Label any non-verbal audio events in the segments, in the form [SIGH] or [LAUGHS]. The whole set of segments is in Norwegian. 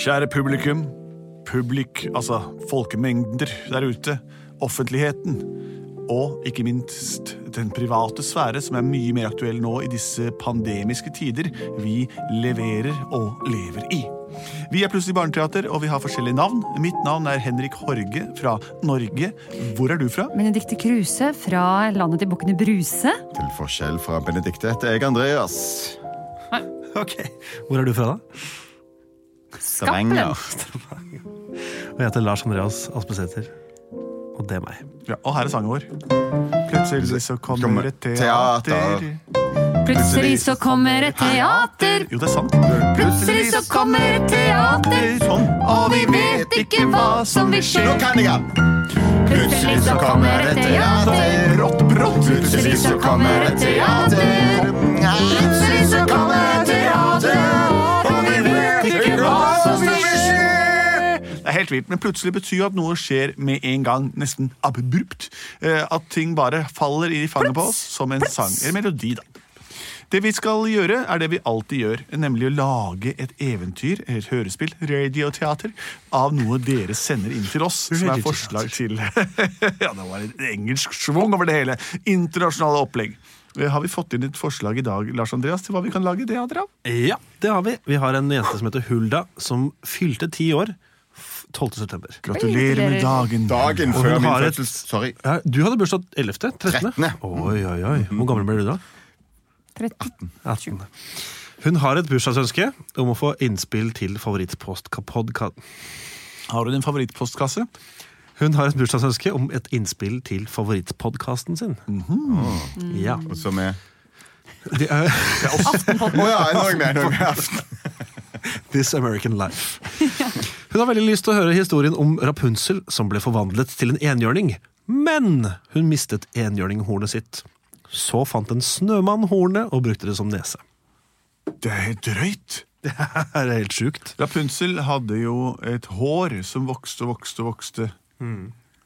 Kjære publikum, publik, altså folkemengder der ute, offentligheten, og ikke minst den private sfære, som er mye mer aktuell nå i disse pandemiske tider vi leverer og lever i. Vi er plutselig barneteater, og vi har forskjellige navn. Mitt navn er Henrik Horge fra Norge. Hvor er du fra? Benedicte Kruse fra landet til bukkene Bruse. Til forskjell fra Benedikte heter jeg Andreas. [LAUGHS] Ok, Hvor er du fra, da? Skappelen. Og jeg heter Lars Andreas Aspesæter. Og det er meg. Ja, og her er sangen vår. Plutselig så Kommer kommer et teater. teater. Plutselig så kommer et teater. Jo, det er sant. Plutselig så kommer et teater. Sånn. Og vi vet ikke hva som vil skje. Nå kan jeg den! Plutselig så kommer et teater. Brått, brått. Plutselig så kommer et teater. Plutselig så kommer et teater. Og vi vet ikke hva som vil skje. Det er helt vilt, men plutselig betyr jo at noe skjer med en gang, nesten abrupt. Eh, At ting bare faller i fanget på oss som en sang eller melodi, da. Det vi skal gjøre, er det vi alltid gjør, nemlig å lage et eventyr, et hørespill, radioteater, av noe dere sender inn til oss, som er forslag til [LAUGHS] Ja, det var en engelsk schwung over det hele. Internasjonale opplegg. Eh, Har vi fått inn et forslag i dag, Lars Andreas, til hva vi kan lage teater av? Ja, det har vi. Vi har en jente som heter Hulda, som fylte ti år f- 12. september. Gratulerer med dagen. Dagen før hun min har et- fødsel. Sorry. Ja, Du hadde bursdag 11. 13. 13.. Oi, oi, oi. Hvor gammel ble du da? [LAUGHS] 13. 18. Hun har et bursdagsønske om å få innspill til favorittpostpodkast. Har du din favorittpostkasse? Hun har et bursdagsønske om et innspill til favorittpodkasten sin. Ja. Og så med De er Å ja, en dag med, en dag med aften. This American Life. Hun har veldig lyst til å høre historien om Rapunzel som ble forvandlet til en enhjørning. Men hun mistet enhjørninghornet sitt. Så fant en snømann hornet og brukte det som nese. Det er helt drøyt. Det her er helt sjukt. Rapunzel hadde jo et hår som vokste og vokste og vokste.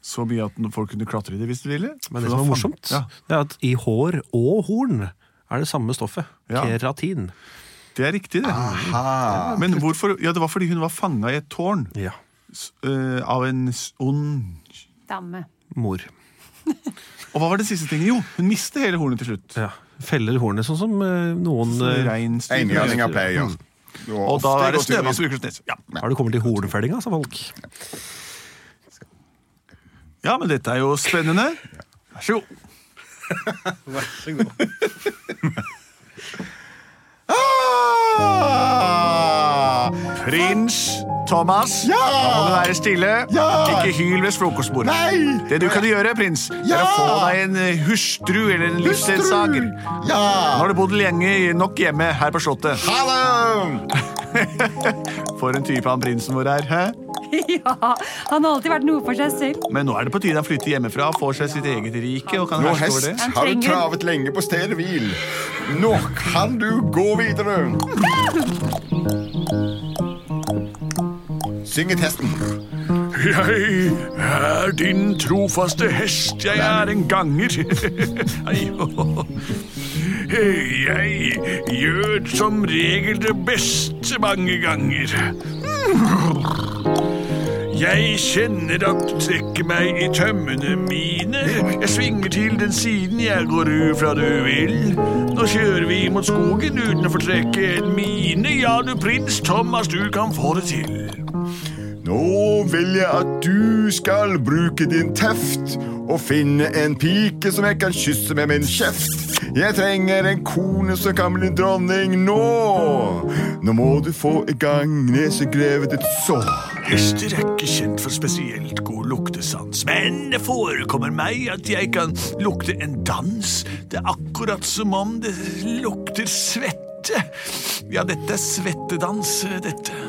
Så mye at folk kunne klatre i det hvis de ville. For Men det som er hva faen- morsomt, det er at i hår og horn er det samme stoffet. Ja. Keratin. Ja, det er riktig, det. Aha. Men hvorfor? Ja, det var fordi hun var fanga i et tårn Ja. s- eh, av en s- ond Damme. Mor. Og hva var det siste tinget? Jo, hun mistet hele hornet til slutt. Ja. Feller hornet, sånn som eh, noen eh, Reinsdyr. Enhjørninger pleier å gjøre. Mm. Og da ofte er det går turen i- snømann som bruker snes. Ja. Har du kommet til hornfellinga, sa folk. ja, men dette er jo spennende. Vær så god. Ah! Prins Thomas, Ja! nå må du være stille. Ja! Ikke hyl ved frokostbordet. Nei! Det du kan gjøre, prins, er Ja! å få deg en eh, hustru eller en livsdelsaker. Nå Ja! har du bodd lenge nok hjemme her på Slottet. [LAUGHS] Hallo! For en type han prinsen vår er. Hæ? Ja, han har alltid vært noe for seg selv. Men nå er det på tide han flytter hjemmefra og får seg sitt eget rike. og kan Nå, herske over hest, det. Han har du trenger- travet lenge på stedet hvil. Nå kan du gå videre. Syng et hesten. Jeg er din trofaste hest, jeg er en ganger. [LAUGHS] Nei, ho, ho. Jeg gjør som regel det beste mange ganger. Jeg kjenner at det trekker meg i tømmene mine. Jeg svinger til den siden jeg går ut fra du vil. Nå kjører vi mot skogen uten å fortrekke en mine. Ja, du prins Thomas, du kan få det til. Nå vil jeg at du skal bruke din teft og finne en pike som jeg kan kysse med min kjeft. Jeg trenger en kone som kan bli dronning nå. Nå må du få i gang nesegrevet ditt så. Hester er ikke kjent for spesielt god luktesans, men det forekommer meg at jeg kan lukte en dans. Det er akkurat som om det lukter svette. Ja, dette er svettedans, dette.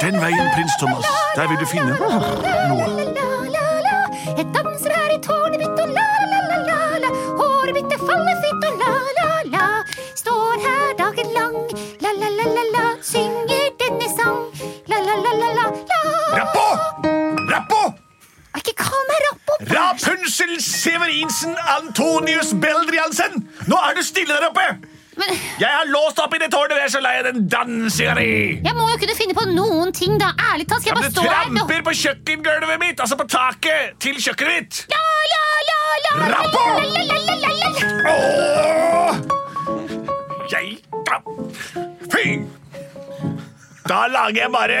Den veien, prins Thomas. Der vil du finne noe. La-la-la-la-la. Jeg danser her i tårnet mitt, og la-la-la-la-la. Håret mitt er fallet fint, og la-la-la. Står her dagen lang, la-la-la-la-la. Synger denne sang, la-la-la-la-la. Rappo! Rappo! Ikke kall meg rapp opp! Rapunzel Severinsen Antonius Beldriansen! Nå er du stille der oppe! Men Jeg er låst opp i det tårnet, jeg er så lei av den dansinga di! jeg må jo kunne finne på noen ting, da. Ærlig talt, skal jeg Men bare du stå her nå? tramper på kjøkkengulvet mitt, altså på taket til kjøkkenet mitt! La, la, la, la, la, la, Rappa! la, la, la, la, la, Åh! la. Jeg da. Fy! Da lager jeg bare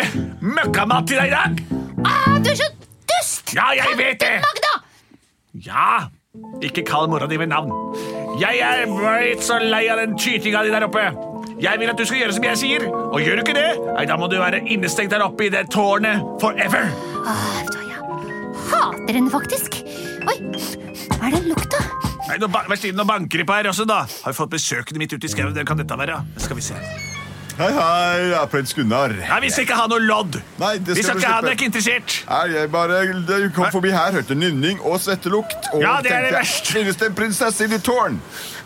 møkkamat til deg i dag. Ah, du er så dust! Ja, jeg vet det. Magda! Ja, ikke kall mora di ved navn. Jeg er blitt så lei av den tytinga di der oppe. Jeg vil at du skal gjøre som jeg sier, og gjør du ikke det, nei, da må du være innestengt der oppe i det tårnet forever. Ah, vet du hva, jeg hater henne faktisk. Oi, hva er den lukta? Nei, nå, ba- Vær stille, nå banker de på her også, da. Har vi fått besøkende mitt ute i skauen? Hvem kan dette være? Skal vi se. Hei, hei, jeg er prins Gunnar. Nei, vi skal ikke ha noe lodd. Nei, det vi skal skal du ikke ha slippe. det, ikke interessert. Nei, jeg bare jeg kom forbi her, hørte nynning og svettelukt. Og Ja, det er det tenkte, verst. Finnes det en prinsesse i ditt tårn?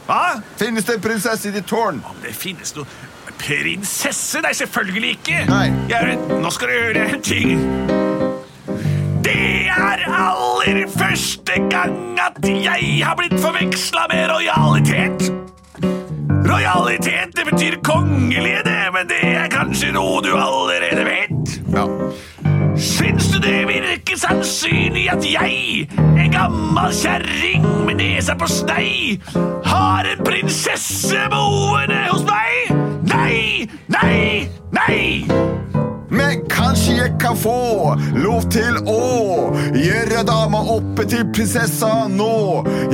Hva? Finnes det en prinsesse i ditt tårn? Om det finnes noe prinsesse? Nei, selvfølgelig ikke. Nei. Jeg er, en- nå skal du høre en ting. Det er aller første gang at jeg har blitt forveksla med rojalitet. Rojalitet, det betyr kongelige, det, men det er kanskje noe du allerede vet. Ja. Syns du det virker sannsynlig at jeg, en gammel kjerring med nesa på snei, har en prinsesse boende hos meg? Nei, nei, nei! Men kanskje jeg kan få lov til å gjøre dama oppe til prinsessa nå.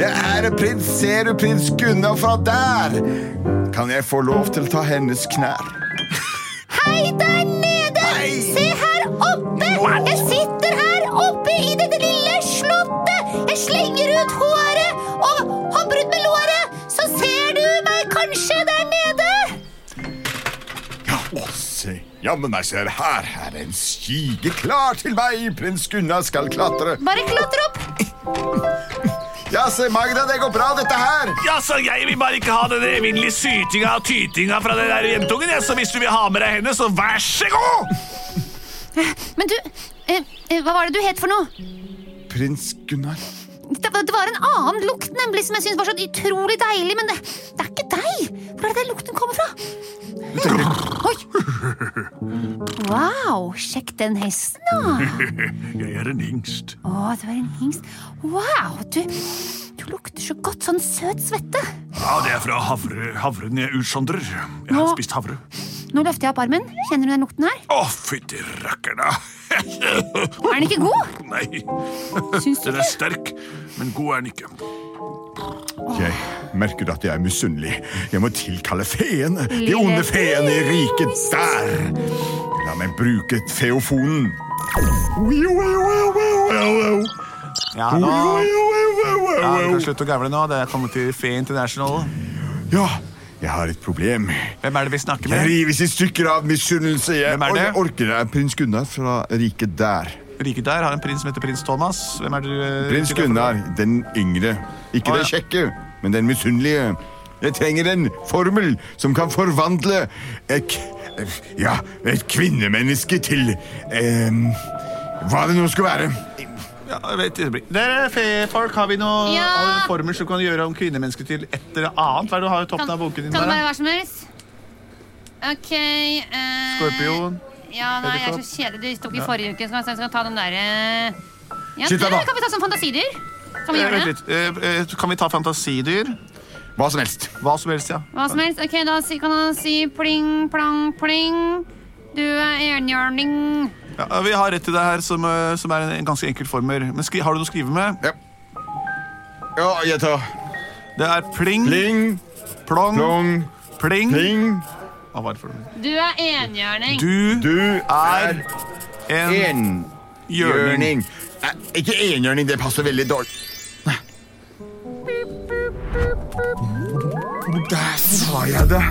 Jeg er en prins, ser du prins Gunnar fra der? Kan jeg få lov til å ta hennes knær? Hei, der nede! Hei! Se her oppe! What? Jeg sitter her oppe i dette lille slottet. Jeg slenger ut håret og hopper ut med låret. Så ser du meg kanskje der nede? Ja, å, se. Jammen meg ser her, her er en stige klar til meg. Prins Gunnar skal klatre. Bare klatre opp. Ja, se, Magda, det går bra, dette her. Jaså, jeg vil bare ikke ha den evinnelige sytinga og tytinga fra den der jentungen, jeg, så hvis du vil ha med deg henne, så vær så god! Men du, eh, eh, hva var det du het for noe? Prins Gunnar. Det, var- det var en annen lukt nemlig som jeg syntes var så utrolig deilig, men det, det er ikke deg. Hvor er det den lukten kommer fra? Oi! Wow, sjekk den hesten, da. [LAUGHS] Jeg er en hingst. Å, det var en hingst. Wow, du, du lukter så godt. Sånn søt svette. Ja, det er fra havre, havren jeg utsondrer. Jeg Nå- har spist havre. Nå løfter jeg opp armen. Kjenner du den lukten her? Å, fytti rakkerne! [LAUGHS] Er den ikke god? Nei, Syns du den er ikke? sterk, men god er den ikke. Jeg merker at jeg er misunnelig. Jeg må tilkalle feene. De Lille onde feene i riket der. La meg bruke feofonen. Ja, nå, ja, du kan slutte å gavle nå. Det er kommet til Fe International. Ja, jeg har et problem. Hvem er det vi snakker Jeg med? rives i stykker av misunnelse. Jeg Hvem er det? or- orker det. er Prins Gunnar fra riket der. Riket der har en prins som heter prins Thomas. Hvem er det du eh, Prins riket der for? Gunnar, den yngre. Ikke Å, den ja. kjekke, men den misunnelige. Jeg trenger en formel som kan forvandle et, k- ja, et kvinnemenneske til em, hva det nå skulle være. Ja, jeg vet, det blir- Dere fefolk, har vi noen Ja. former som kan gjøre om kvinnemennesker til et eller annet? Hva er det du har i toppen av bunken din Kan det der? være da? hva som helst? Ok eh, Skorpion. Ja, nei, jeg er så edderkopp. kjedelig. Du tok i forrige uke, så jeg skal ta den der eh, ja, Sitt der, da. eller Kan vi ta sånn fantasidyr? Kan vi Eh, gjøre Vent det? litt. Eh, eh, Kan vi ta fantasidyr? Hva som helst. Hva som helst, ja. Hva som helst. Ok, da si- kan han si pling, plang, pling. Du er enhjørning. ja eh, vi har rett til det her, som, eh, som er en, en ganske enkel formel. Men skri, har du noe å skrive med? Ja. ja, jeg tar Det er pling, pling, plong, plong, pling. pling. Hva var det for noe? Du er enhjørning. Du, Du er er en hjørning. enhjørning. Nei, Ikke enhjørning, det passer veldig dårlig. Der sa jeg det!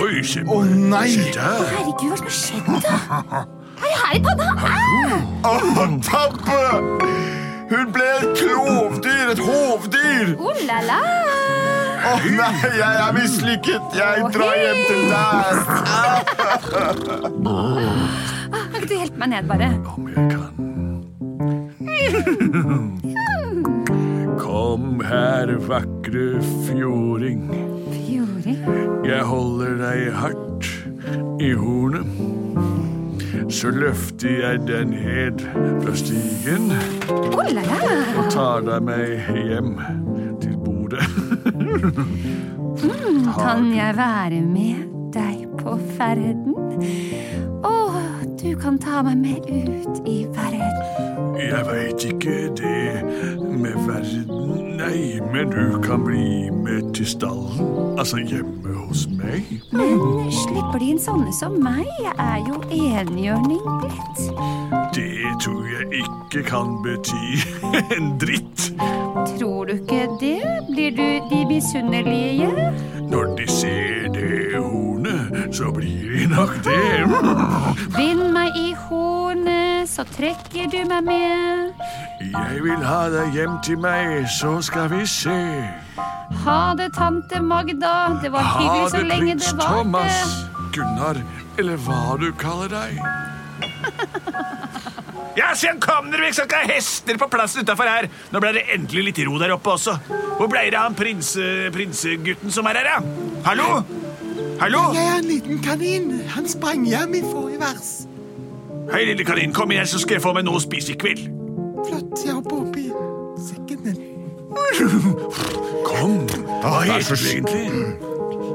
Oi, shit. Å nei! Herregud, hva som har skjedd, da? Er det her i panna? Ah! Å, tabbe! Hun ble et klovdyr, et hovdyr! Oh la la! Å nei, jeg er mislykket! Jeg drar hjem til deg! Kan ikke du hjelpe meg ned, bare? Om jeg [LAUGHS] kan. Kom her, vakre fjording. Sorry. Jeg holder deg hardt i hornet. Så løfter jeg den ned fra stigen Oh, la, la. og tar deg med hjem til bordet. [LAUGHS] Kan jeg være med deg på ferden? Å, du kan ta meg med ut i verden. Jeg veit ikke det med verden, nei, men du kan bli med til stallen. Altså hjemme hos meg. Men slipper de inn sånne som meg? Jeg er jo enhjørning blitt. Det tror jeg ikke kan bety [LAUGHS] en dritt. Tror du ikke det? Blir du de misunnelige? Når de ser det hornet, så blir de nok [LAUGHS] det. Bind meg i hornet, så trekker du meg med. Jeg vil ha deg hjem til meg, så skal vi se. Ha det, tante Magda. Det var Ha hyggelig så det, lenge prins det varte. Thomas, Gunnar, eller hva du kaller deg. Ja, Sjøen, kom dere vekk, så skal jeg ha hester på plassen utafor her. Nå ble det endelig litt ro der oppe også. Hvor ble det av han prinse, prinsegutten som er her, ja? Hallo? Hallo? Jeg er en liten kanin. Han sprang hjem i forrige vers. Hei, lille kanin, kom igjen, så skal jeg få meg noe å spise i kveld. Flott, jeg hopper opp i sekken din. Kom. Hva vær heter du så snill. egentlig?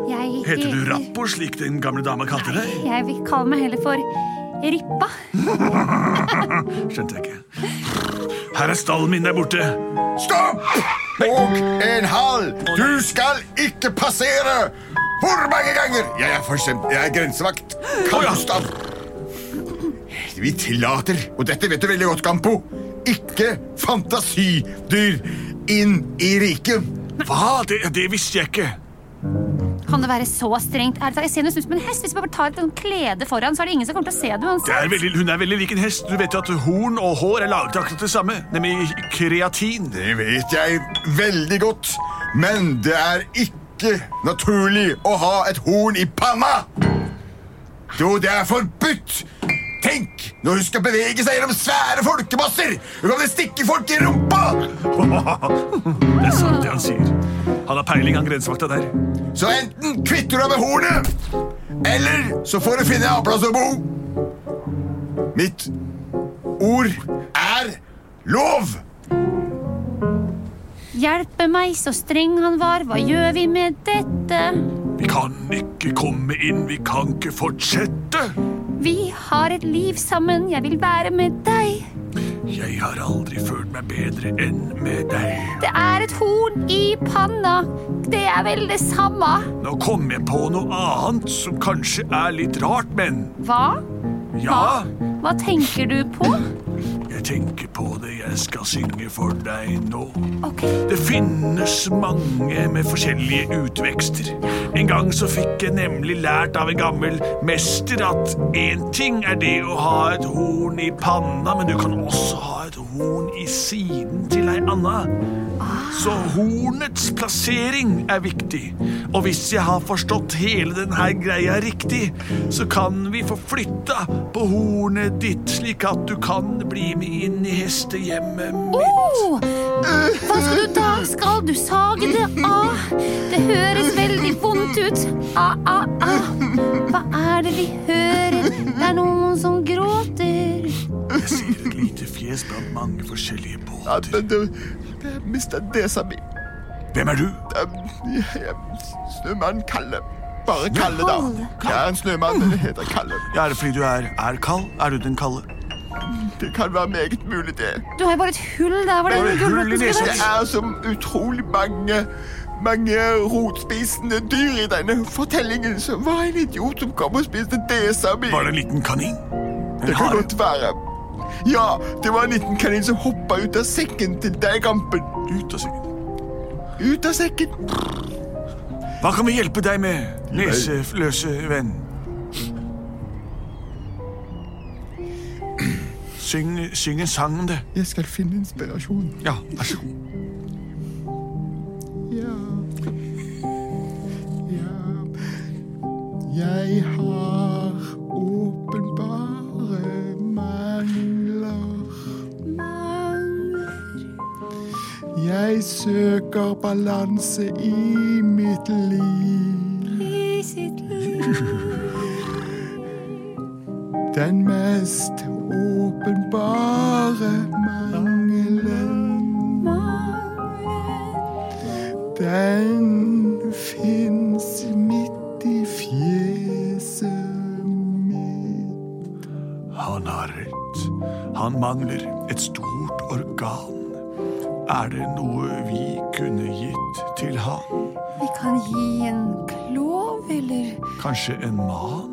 Jeg Heter du Rappo, slik den gamle dama kalte deg? Jeg vil kalle meg heller for Rippa. Skjønte jeg ikke. Her er stallen min der borte. Stopp! Og en halv! Du skal ikke passere! Hvor mange ganger? Jeg er forstemt. Jeg er grensevakt. Kampostav. Vi tillater, og dette vet du veldig godt, Kampo, ikke fantasidyr inn i riket. Hva? Det, det visste jeg ikke. Kan det være så strengt? Er det- Jeg ser nesten ut som en hest. Hvis vi bare tar et sånt klede foran, så er det ingen som kommer til å se det altså. Det uansett. er veldig, hun er veldig lik en hest. Du vet jo at horn og hår er laget akkurat det samme, nemlig kreatin. Det vet jeg veldig godt, men det er ikke naturlig å ha et horn i panna! Jo, det er forbudt! Tenk når hun skal bevege seg gjennom svære folkemasser! Hun kan vel stikke folk i rumpa! Det er sant det han sier. Han har peiling, han grensevakta der. Så enten kvitter du deg med hornet, eller så får du finne en annen plass å bo. Mitt ord er lov! Hjelpe meg, så streng han var. Hva gjør vi med dette? Vi kan ikke komme inn, vi kan ikke fortsette. Vi har et liv sammen. Jeg vil være med deg. Jeg har aldri følt meg bedre enn med deg. Det er et horn i panna. Det er vel det samme. Nå kom jeg på noe annet som kanskje er litt rart, men Hva? ja, Hva tenker du på? jeg tenker på det jeg skal synge for deg nå. Ok, Det finnes mange med forskjellige utvekster. En gang så fikk jeg nemlig lært av en gammel mester at én ting er det å ha et horn i panna, men du kan også ha et horn i siden til ei anna. Så hornets plassering er viktig. Og hvis jeg har forstått hele denne greia riktig, så kan vi få flytta på hornet ditt, slik at du kan bli med inn i hestehjemmet mitt. Oh, hva skal du da? Skal du sage det av? Det høres veldig vondt ut. Ah, ah, ah. Hva er det vi hører? Det er noen som gråter. Jeg ser et lite fjes blant mange forskjellige Ja, båter. men du, jeg mista desa mi. Hvem er du? Jeg- jeg- Snømannen Kalle. Bare Kalle, da. Jeg er en snømann, men jeg heter Kalle. Ja, er det fordi du er, er kald? Er du den kalde? Det kan være meget mulig, det. Du har jo bare et hull der hvor den Bare et hull i gulroten skulle nesen. Det vært. er så utrolig mange mange rotspisende dyr i denne fortellingen. Så var en idiot som kom og spiste desa mi. Var det en liten kanin? En Det kan hare? godt være. Ja, det var en liten kanin som hoppa ut av sekken til deg, Gampen. Ut av sengen. Ut av sekken. Hva kan vi hjelpe deg med, neseløse venn? Syng, syng en sang om det. Jeg skal finne inspirasjon. Ja, vær så god. Ja. Ja. Jeg har åpenbare mangler. Jeg søker balanse i mitt liv. Den mest åpenbare mangelen Den fins midt i fjeset mitt. Han har rett. Han mangler et stort organ. Er det noe vi kunne gitt til han? Vi kan gi en klov, eller Kanskje en mann?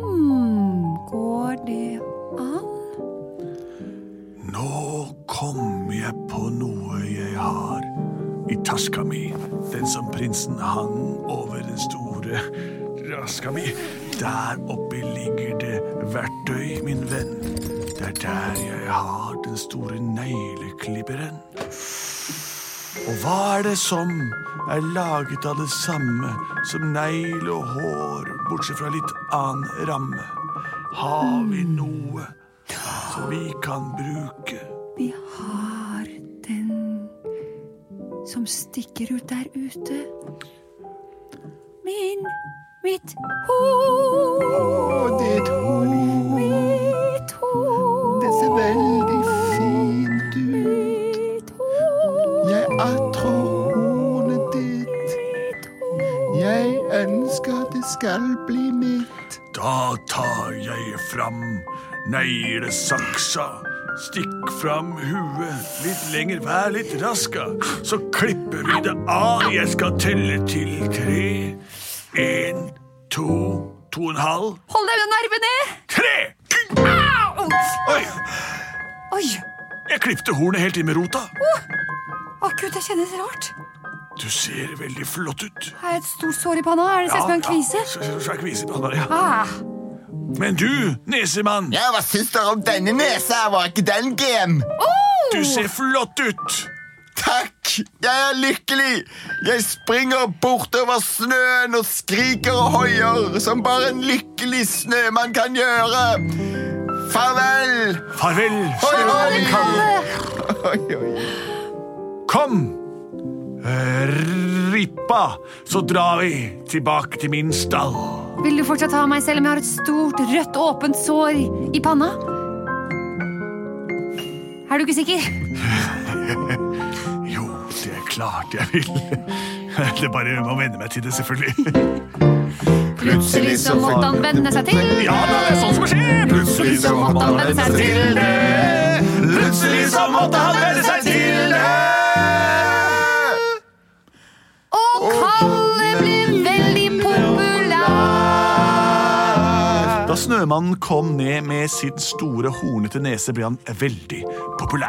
hmm, Går det an? Nå kom jeg på noe jeg har i taska mi. Den som prinsen hang over den store raska mi. Der oppe ligger det verktøy, min venn. Det er der jeg har den store negleklipperen. Og hva er det som er laget av det samme som negl og hår, bortsett fra litt annen ramme? Har vi noe som vi kan bruke? Vi har den som stikker ut der ute. Min, mitt hår. Ditt hår Mitt hår. det ser veldig fint Mitt ut. hår. Jeg attrår hornet ditt. Jeg ønsker det skal bli mitt. Da tar jeg fram neglesaksa. Stikk fram huet litt lenger, vær litt raska, så klipper vi det av. Jeg skal telle til tre. En, to, to og en halv, Hold deg unna nervene! tre! Au! Oi, Oi! jeg klipte hornet helt inn med rota. Å, gud, det kjennes rart. Du ser veldig flott ut. Har jeg et stort sår i panna? Er det ser ut som en kvise? Ja, så- så- så er kvise på den, ja. Ah, Men du, nesemann, Ja, Hva syns dere om denne nesa? Var ikke den gem? du ser flott ut. Takk! Jeg er lykkelig! Jeg springer bortover snøen og skriker og hoier som bare en lykkelig snømann kan gjøre. Farvel! Farvel, Hoi, hoi! Oi, oi. Kom! eh, Rippa, så drar vi tilbake til min stall. Vil du fortsatt ha meg selv om jeg har et stort, rødt, åpent sår i panna? Er du ikke sikker? Jo, det er klart jeg vil. [LAUGHS] Det er bare jeg må venne meg til det, selvfølgelig. Plutselig så måtte han venne seg til Ja, da, det er sånn som skjer! Plutselig så måtte han venne seg til det. Plutselig så måtte han venne seg til det. Og Kalle ble veldig populær. Da Snømannen kom ned med sin store, hornete nese, ble han veldig populær.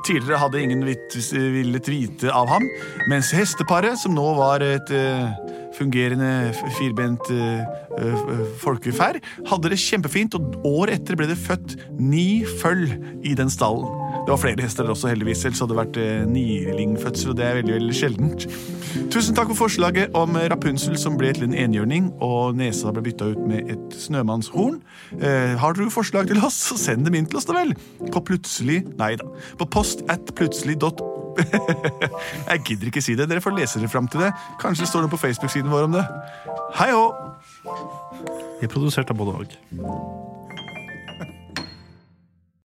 Tidligere hadde ingen vit- villet vite av ham, mens hesteparet, som nå var et eh, fungerende f- firbent eh, eh, folkeferd, hadde det kjempefint, og året etter ble det født ni føll i den stallen. Det var flere hester der også, heldigvis, ellers hadde det vært eh, nilingfødsel, og det er veldig, veldig sjeldent. Tusen takk for forslaget om Rapunzel som ble til en enhjørning, og nesa ble bytta ut med et snømannshorn. Eh, har du forslag til oss, så send dem inn til oss, da vel. På plutselig Nei da. På post at plutselig dot [LAUGHS] Jeg gidder ikke si det. Dere får lese dere fram til det. Kanskje det står noe på Facebook-siden vår om det. Hei hå! Vi er produsert av både og.